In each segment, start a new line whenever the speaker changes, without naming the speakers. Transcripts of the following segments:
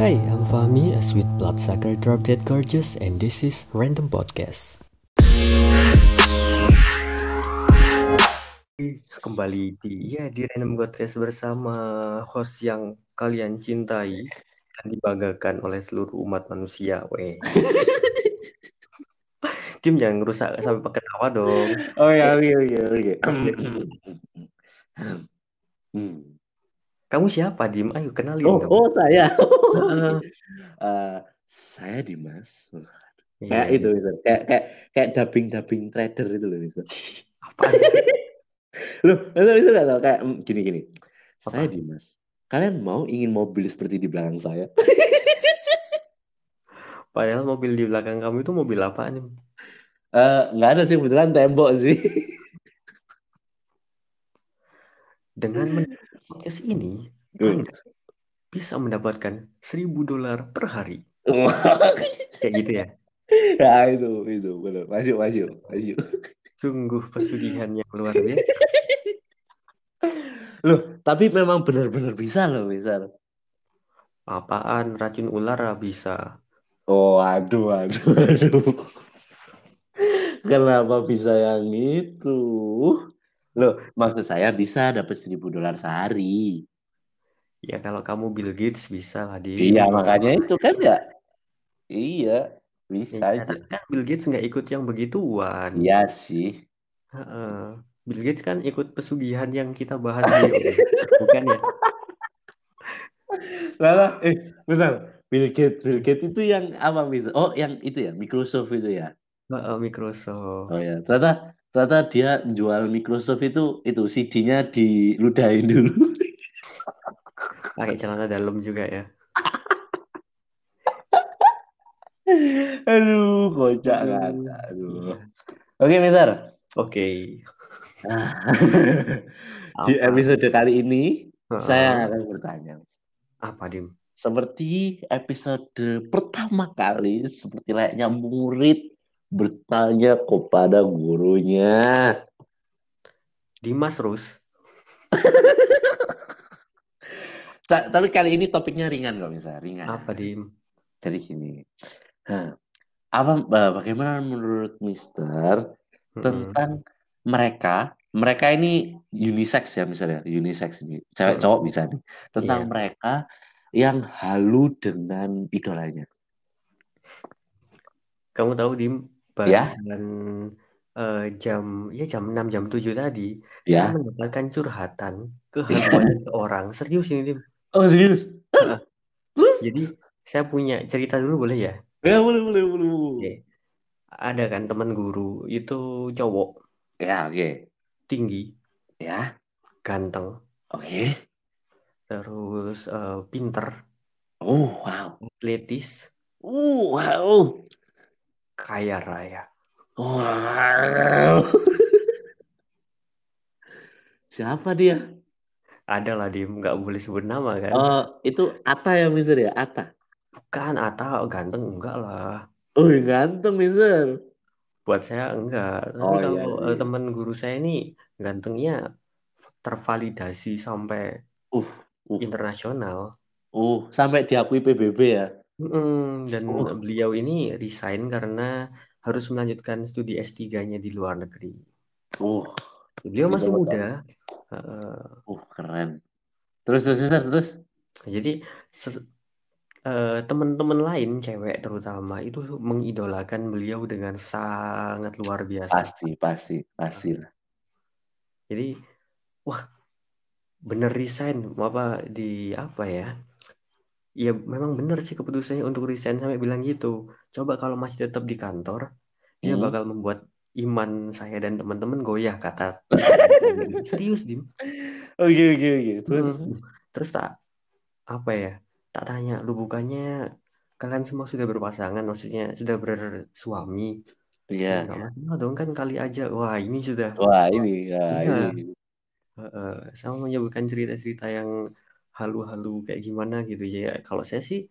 Hi, I'm Fahmi, a sweet bloodsucker drop dead gorgeous, and this is Random Podcast. Kembali di ya di Random Podcast bersama host yang kalian cintai dan dibanggakan oleh seluruh umat manusia. Weh. Tim jangan ngerusak sampai pakai tawa dong.
Oh ya, oke, oke, oke.
Kamu siapa, Dim? Ayo kenalin
Hmm. Oh,
dong.
oh saya.
Ah,
Eh, saya Dimas. Kayak
iya.
itu, itu. Kayak kayak kayak dubbing-dubbing trader itu loh, itu.
Apaan sih?
Loh, itu itu nggak tahu kayak mm, gini gini. Saya
Apa?
Dimas. Kalian mau ingin mobil seperti di belakang saya?
Padahal mobil di belakang kamu itu mobil apaan, Dim?
Eh, nggak ada sih kebetulan tembok sih.
Dengan mendengar podcast ini,
Hmm.
Anda bisa mendapatkan 1000 dolar per hari.
Wah,
Kayak gitu ya.
nah, itu itu benar. Maju maju maju.
Sungguh pesugihan yang luar biasa.
Tapi memang benar-benar bisa loh, misal.
Apaan racun ular ah, bisa.
Oh, aduh, aduh, aduh. Kenapa bisa yang itu? Loh, maksud saya bisa dapat 1000 dolar sehari.
Ya kalau kamu Bill Gates bisa lah di.
Iya, makanya itu kan ya. Iya, bisa
Ya,
aja.
kan Bill Gates nggak ikut yang begituan.
Iya sih.
Heeh. Bill Gates kan ikut pesugihan yang kita bahas ini, bukan ya?
Lala, eh, bentar. Bill Gates, Bill Gates itu yang apa bisa? Oh, yang itu ya, Microsoft itu ya.
Heeh, Microsoft.
Oh ya, ternyata ternyata dia jual Microsoft itu itu CD-nya diludahin dulu.
Pakai celana dalam juga ya.
Aduh, kocak kan.
Aduh,
Aduh.
iya.
Oke, Mister.
Oke.
Di
Apa?
episode kali ini
Heeh.
saya akan bertanya.
Apa, Dim?
Seperti episode pertama kali, seperti layaknya murid bertanya kepada gurunya.
Dimas Rus.
Ta- tapi kali ini topiknya ringan kok, misalnya ringan.
Apa, Dim?
Jadi gini. Hah, apa ba- bagaimana menurut Mister
Heeh.
tentang mereka? Mereka ini unisex ya misalnya, unisex ini.
Mm.
Cewek cowok bisa nih. Tentang
Iya.
mereka yang halu dengan idolanya.
Kamu tahu Dim
Ya.
barusan eh, jam ya jam 6 jam 7 tadi saya
Ya.
mendapatkan curhatan kehaluan orang serius ini Dim.
Oh, serius?
Jadi saya punya cerita dulu boleh ya?
Ya, boleh, boleh, boleh.
Iya.
boleh.
Ada kan teman guru itu cowok
Ya, oke.
tinggi,
Ya,
ganteng,
oke.
terus eh, pinter,
Oh, wow.
atletis,
Oh, wow.
kaya raya.
Wow. Siapa dia?
Ada lah Dim, nggak boleh sebut nama kan?
Eh, itu Ata ya, Mister ya? Ata.
Bukan Atta ganteng enggak lah.
Oh, ganteng, Mister.
Buat saya enggak, tapi
Oh, iya
kalau eh,
sih.
teman guru saya ini gantengnya tervalidasi sampai
Uh, uh,
internasional.
uh. Sampai diakui PBB ya?
Mm, dan
Uh.
beliau ini resign karena harus melanjutkan studi S3-nya di luar negeri.
Uh,
Beliau masih
Betul,
muda. eh,
uh, keren. Terus, terus, Mister, terus.
jadi se- eh, teman-teman lain cewek terutama itu mengidolakan beliau dengan sangat luar biasa.
Pasti, pasti, pasti. lah.
Jadi bener resign apa di apa ya? Ya memang benar sih keputusannya untuk resign sampai bilang gitu. Coba kalau masih tetap di kantor, dia
Hmm.
bakal membuat iman saya dan teman-teman goyah kata. Serius, Dim.
Oke, oke, oke. Terus.
Hmm. Terus tak apa ya? Tak tanya lu bukannya kalian semua sudah berpasangan, maksudnya sudah bersuami. Ya
Iya.
nggak masalah dong kan kali aja. Wah ini sudah.
Wah, ini, ya,
Iya.
ini.
Heeh, sama menyebutkan cerita-cerita yang halu-halu kayak gimana gitu ya. Kalau saya sih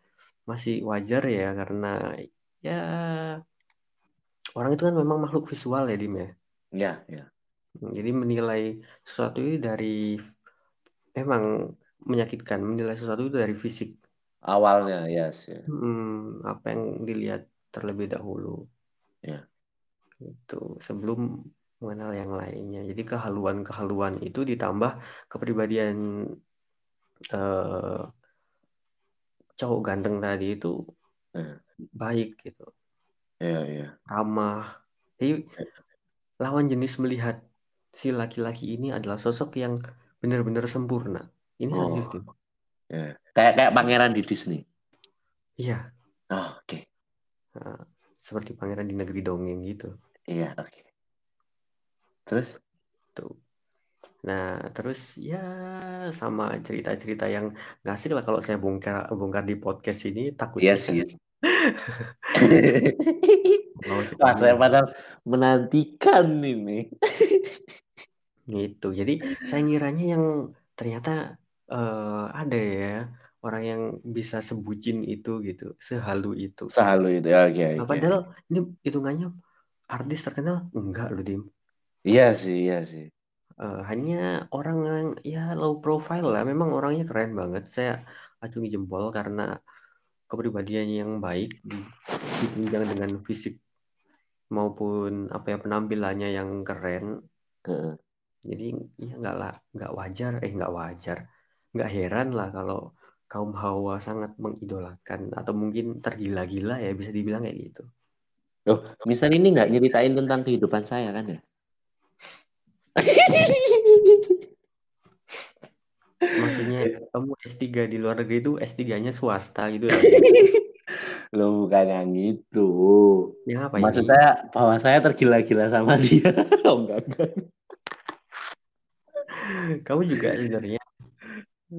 masih wajar ya karena ya orang itu kan memang makhluk visual ya Dim ya.
Ya, ya.
Jadi menilai sesuatu itu dari emang menyakitkan, menilai sesuatu itu dari fisik.
Awalnya, yes, ya.
Hmm, apa yang dilihat terlebih dahulu
Ya.
itu sebelum mengenal yang lainnya. Jadi kehaluan-kehaluan itu ditambah kepribadian eh, cowok ganteng tadi itu
Nah,
baik gitu,
Iya, iya.
ramah. Jadi
Ya.
lawan jenis melihat si laki-laki ini adalah sosok yang benar-benar sempurna. Ini
Oh,
sensitif.
ya. Kayak kayak pangeran di Disney.
Iya,
Oh, oke.
eh, seperti pangeran di negeri dongeng gitu.
Iya, oke. Terus?
Tuh. Nah, terus ya sama cerita-cerita yang nggak asik lah kalau saya bongkar bongkar di podcast ini
Iya
takutnya
sih.
mau
Wah,
sekali
saya padahal menantikan ini.
gitu. Jadi saya ngiranya yang ternyata eh, ada ya orang yang bisa sebucin itu gitu, sehalu itu.
Selalu itu. ya, Oke,
Nah,
oke.
padahal ini hitungannya artis terkenal enggak loh Dim.
Iya sih, iya sih.
Eh, hanya orang yang ya low profile lah. Memang orangnya keren banget. Saya acungi jempol karena kepribadiannya yang baik di- ditunjang dengan fisik maupun apa ya penampilannya yang keren
Heeh.
jadi ya nggak lah nggak wajar eh nggak wajar nggak heran lah kalau kaum hawa sangat mengidolakan atau mungkin tergila-gila ya bisa dibilang kayak gitu
Loh, misal ini nggak nyeritain tentang kehidupan saya kan ya?
maksudnya kamu S3 di luar negeri itu S3-nya swasta gitu loh
Loh, bukan yang itu.
yang apa
Maksud
ini
saya, bahwa saya tergila-gila sama dia. Oh, enggak, enggak.
kamu juga sebenarnya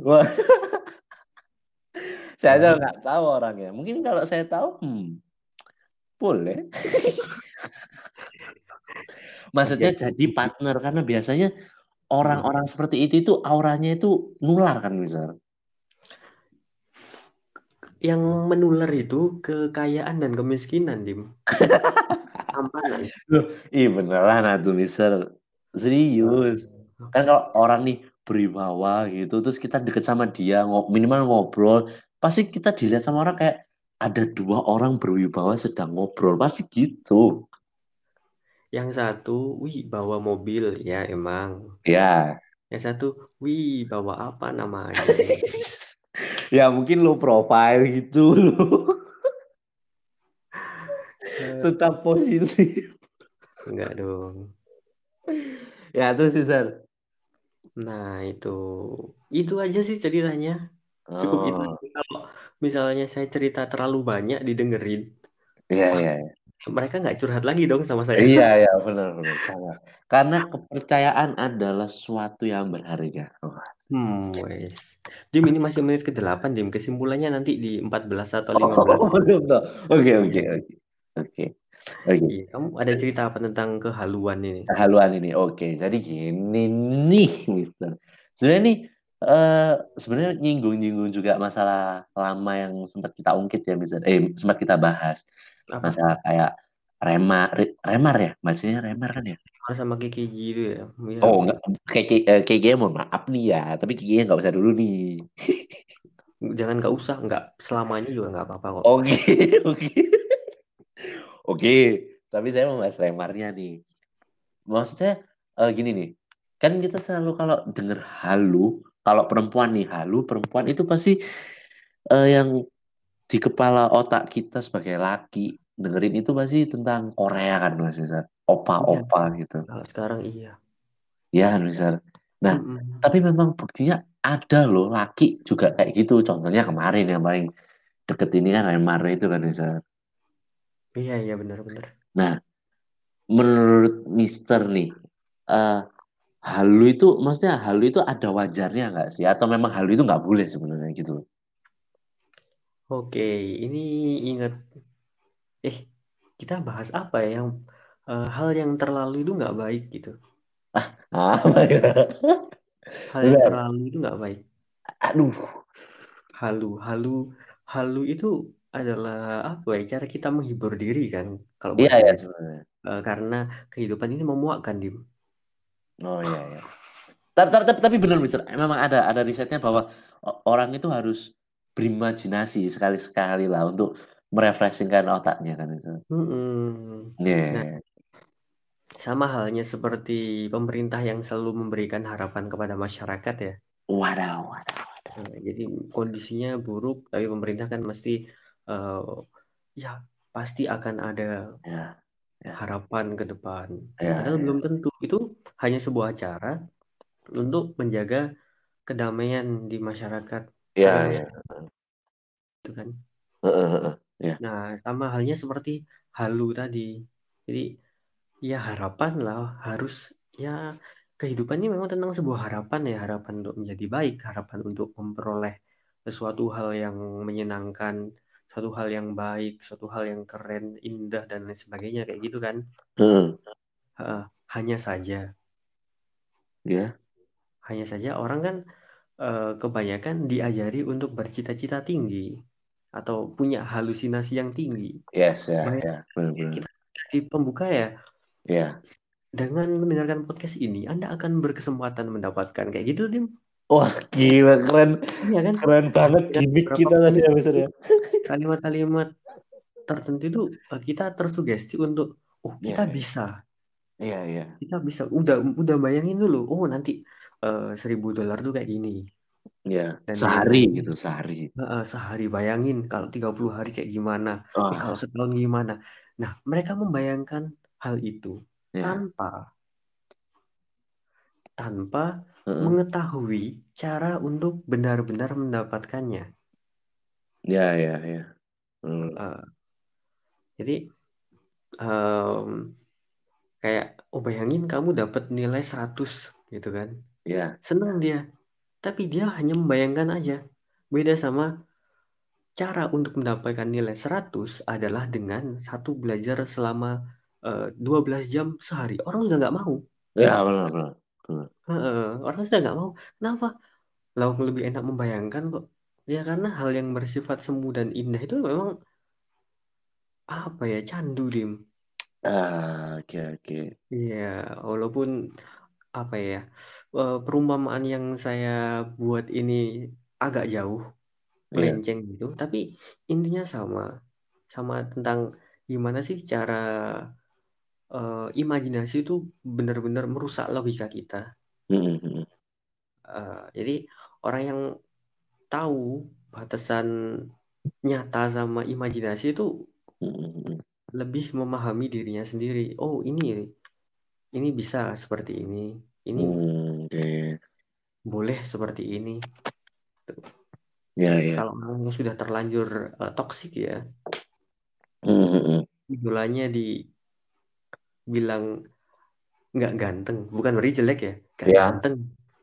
Wah, saya aja
Nah,
nggak tahu orangnya. Mungkin kalau saya tahu, hmm, boleh. Maksudnya
jadi
jadi partner karena biasanya orang-orang seperti itu itu auranya itu nular kan misal.
yang menular itu kekayaan dan kemiskinan dim tampanan
Loh, ih beneran atuh misal. Serius. Kan kalau orang nih berwibawa gitu terus kita deket sama dia, ngo- minimal ngobrol, pasti kita dilihat sama orang kayak ada dua orang berwibawa sedang ngobrol, pasti gitu.
Yang satu, wih bawa mobil ya emang.
Ya.
Yang satu, wih bawa apa namanya?
Ya mungkin low profile gitu loh.
Eh,
Tetap positif.
enggak dong.
Ya terus Sisar.
Nah itu, itu aja sih ceritanya. Cukup gitu. itu.
Oh,
aja. Kalau misalnya saya cerita terlalu banyak didengerin,
iya
wah
iya.
mereka nggak curhat lagi dong sama saya.
Iya, iya, benar, benar. Sama. Karena kepercayaan adalah suatu yang berharga. Wah.
Hmm, wes. Dim ini masih menit ke-8, Dim. Kesimpulannya nanti di 14 atau 15.
Oh, belum tahu. Oke, oke,
Iya.
oke, oke, oke.
Iya, kamu ada cerita apa tentang kehaluan ini?
Kehaluan ini, oke. Jadi gini nih, Mister. Sebenarnya nih, eh, sebenarnya nyinggung-nyinggung juga masalah lama yang sempat kita ungkit ya, Mister. Eh, sempat kita bahas
Apa?
masalah kayak remar, remar ya, maksudnya remar kan ya.
Harus sama KKJ itu ya? Iya,
Oh,
oke.
enggak. Kayak kayak kayak mohon maaf nih ya, tapi kayaknya nggak usah dulu nih.
Jangan nggak usah, nggak selamanya juga nggak apa-apa kok.
Oke, oke, oke. Tapi saya mau bahas Remarnya nih. Maksudnya eh, gini nih, kan kita selalu kalau denger halu, kalau perempuan nih halu, perempuan itu pasti eh, yang di kepala otak kita sebagai laki dengerin itu pasti tentang Korea kan, Mas Nizar.
Iya.
Opa-opa gitu.
Kalau sekarang iya.
Ya, Mas Nizar. Nah,
Mm-mm.
tapi memang buktinya ada loh laki juga kayak gitu. Contohnya kemarin yang paling deket ini kan Remar itu kan, Mas Nizar.
Iya, iya benar-benar.
Nah, menurut Mister nih, eh halu itu maksudnya halu itu ada wajarnya nggak sih? Atau memang halu itu nggak boleh sebenarnya gitu? loh?
Oke, ini ingat, eh kita bahas apa ya yang eh, hal yang terlalu itu nggak baik gitu.
Apa ya?
Hal yang
Bentar.
terlalu itu nggak baik.
Aduh.
Halu, halu, halu itu adalah apa ya? Cara kita menghibur diri kan, kalau buat
Iya ya
saya.
sebenarnya.
Eh, karena kehidupan ini memuakkan, Dim.
Oh iya ya. Tapi tapi tapi, tapi benar Mister, memang ada ada risetnya bahwa o- orang itu harus berimajinasi sekali-sekali lah untuk merefreshingkan otaknya kan itu.
Mm-mm.
Iya.
Sama halnya seperti pemerintah yang selalu memberikan harapan kepada masyarakat ya.
Wadaw, wadaw.
Nah, Jadi kondisinya buruk, tapi pemerintah kan mesti eh, ya pasti akan ada
Ya,
harapan ke depan.
ya,
Padahal
ya.
belum tentu. Itu hanya sebuah cara untuk menjaga kedamaian di masyarakat
Ya,
Sama
ya.
itu kan.
Heeh, heeh.
Nah, sama halnya seperti halu tadi. Jadi ya harapan lah harus ya kehidupan ini memang tentang sebuah harapan ya, harapan untuk menjadi baik, harapan untuk memperoleh sesuatu hal yang menyenangkan, suatu hal yang baik, suatu hal yang keren, indah dan lain sebagainya kayak gitu kan.
Heeh.
Heeh. hanya saja,
Ya.
hanya saja orang kan eh, kebanyakan diajari untuk bercita-cita tinggi atau punya halusinasi yang tinggi.
Yes, ya,
Baik.
ya. Benar, benar.
Kita di pembuka ya,
Ya.
dengan mendengarkan podcast ini, Anda akan berkesempatan mendapatkan kayak gitu, Tim.
Wah, gila keren.
Iya kan?
Keren banget
Dan
gimmick
berapa
kita tadi
kali-
habis itu ya.
Kalimat-kalimat tertentu itu eh, kita tersugesti untuk, oh kita
Iya, iya.
bisa,
Iya, iya.
kita bisa. Udah udah bayangin dulu, oh nanti eh, seribu dolar tuh kayak gini.
Iya.
Dan
Sehari gitu, sehari.
Heeh, sehari bayangin kalau 30 hari kayak gimana, eh,
Wah,
kalau setahun gimana. Nah, mereka membayangkan hal itu
ya.
tanpa tanpa
Heeh.
mengetahui cara untuk benar-benar mendapatkannya.
Ya, ya, ya. Hmm.
Eh, jadi em, kayak oh bayangin kamu dapat nilai 100 gitu kan.
Ya.
Senang dia, tapi dia hanya membayangkan aja. Beda sama cara untuk mendapatkan nilai 100 adalah dengan satu belajar selama eh, 12 jam sehari. Orang sudah nggak mau.
Ya, benar, benar. Benar.
Heeh, orang sudah nggak mau. Kenapa? Lah lebih enak membayangkan kok. Ya karena hal yang bersifat semu dan indah itu memang apa ya candu dim.
Ah, oke, oke.
Iya, walaupun apa ya eh, perumpamaan yang saya buat ini agak jauh
Iya.
melenceng gitu, tapi intinya sama, sama tentang gimana sih cara eh, imajinasi itu benar-benar merusak logika kita.
Heeh, heeh.
Eh, jadi orang yang tahu batasan nyata sama imajinasi itu
Heeh, heeh.
lebih memahami dirinya sendiri. Oh ini, ini bisa seperti ini, ini
Hmm, Oke.
boleh seperti ini.
Ya, ya.
Kalau orang yang sudah terlanjur eh, toksik ya,
Heeh, heeh.
idolanya dibilang nggak ganteng, bukan berarti jelek ya, nggak
Ya.
ganteng,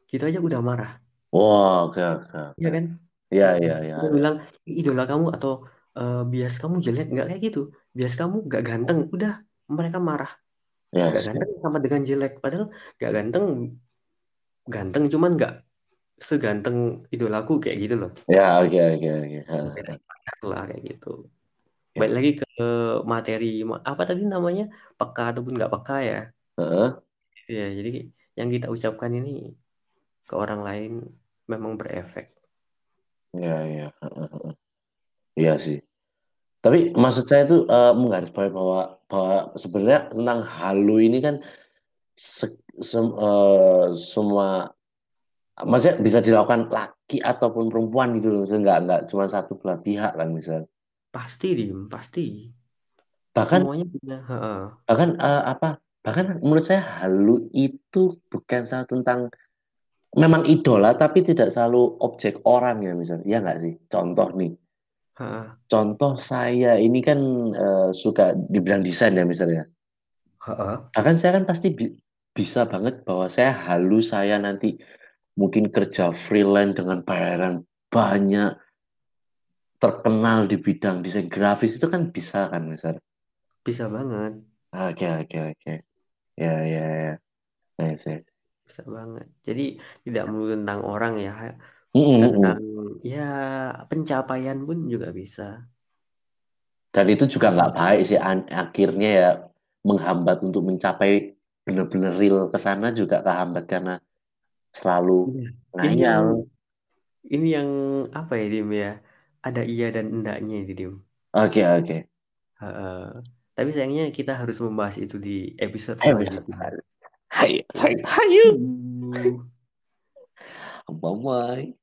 gitu aja udah marah,
Wah, oke, oke, oke.
ya kan?
Ya,
Heeh.
ya, ya.
Dia bilang idola kamu atau eh, bias kamu jelek, nggak kayak gitu, bias kamu nggak ganteng, udah mereka marah,
Yes,
nggak
Iya.
ganteng sama dengan jelek, padahal nggak ganteng, ganteng cuman nggak seganteng idolaku kayak gitu loh,
ya, oke, oke, oke. Heeh.
beda standar lah kayak gitu.
Ya.
Baik lagi ke materi ma- apa tadi namanya peka ataupun nggak peka ya.
Heeh.
Gitu ya, jadi yang kita ucapkan ini ke orang lain memang berefek.
Ya, ya. Heeh, heeh. Iya sih. Tapi maksud saya itu eh, menggarisbawahi bahwa bahwa sebenarnya tentang halu ini kan se- sem- eh, semua maksudnya bisa dilakukan laki ataupun perempuan gitu loh. Maksudnya nggak nggak cuma satu belah pihak kan misal.
Pasti dim, pasti.
Bahkan
Semuanya punya. heeh.
bahkan eh, apa? Bahkan menurut saya halu itu bukan salah tentang memang idola tapi tidak selalu objek orang ya misalnya. Iya nggak sih? Contoh nih.
heeh,
Contoh saya ini kan eh, suka di bidang desain ya misalnya.
heeh.
Bahkan saya kan pasti bi- bisa banget bahwa saya halu saya nanti mungkin kerja freelance dengan bayaran banyak terkenal di bidang desain grafis itu kan bisa kan misalnya.
Bisa banget,
Oke oke oke. Ya ya ya. Nice, nice.
bisa banget. Jadi tidak melulu tentang orang ya,
Mm, mm, mm.
tentang ya pencapaian pun juga bisa.
Dan itu juga nggak baik sih an- akhirnya ya menghambat untuk mencapai benar-benar real ke sana juga kehambat karena selalu
Iya. Ini yang
ngayal.
ini yang apa ya Dim ya? ada iya dan endaknya itu Dim.
Oke, oke.
Heeh. tapi sayangnya kita harus membahas itu di episode
Ayo,
selanjutnya.
Hai, hai, hayu.
Tuh.
Bye-bye.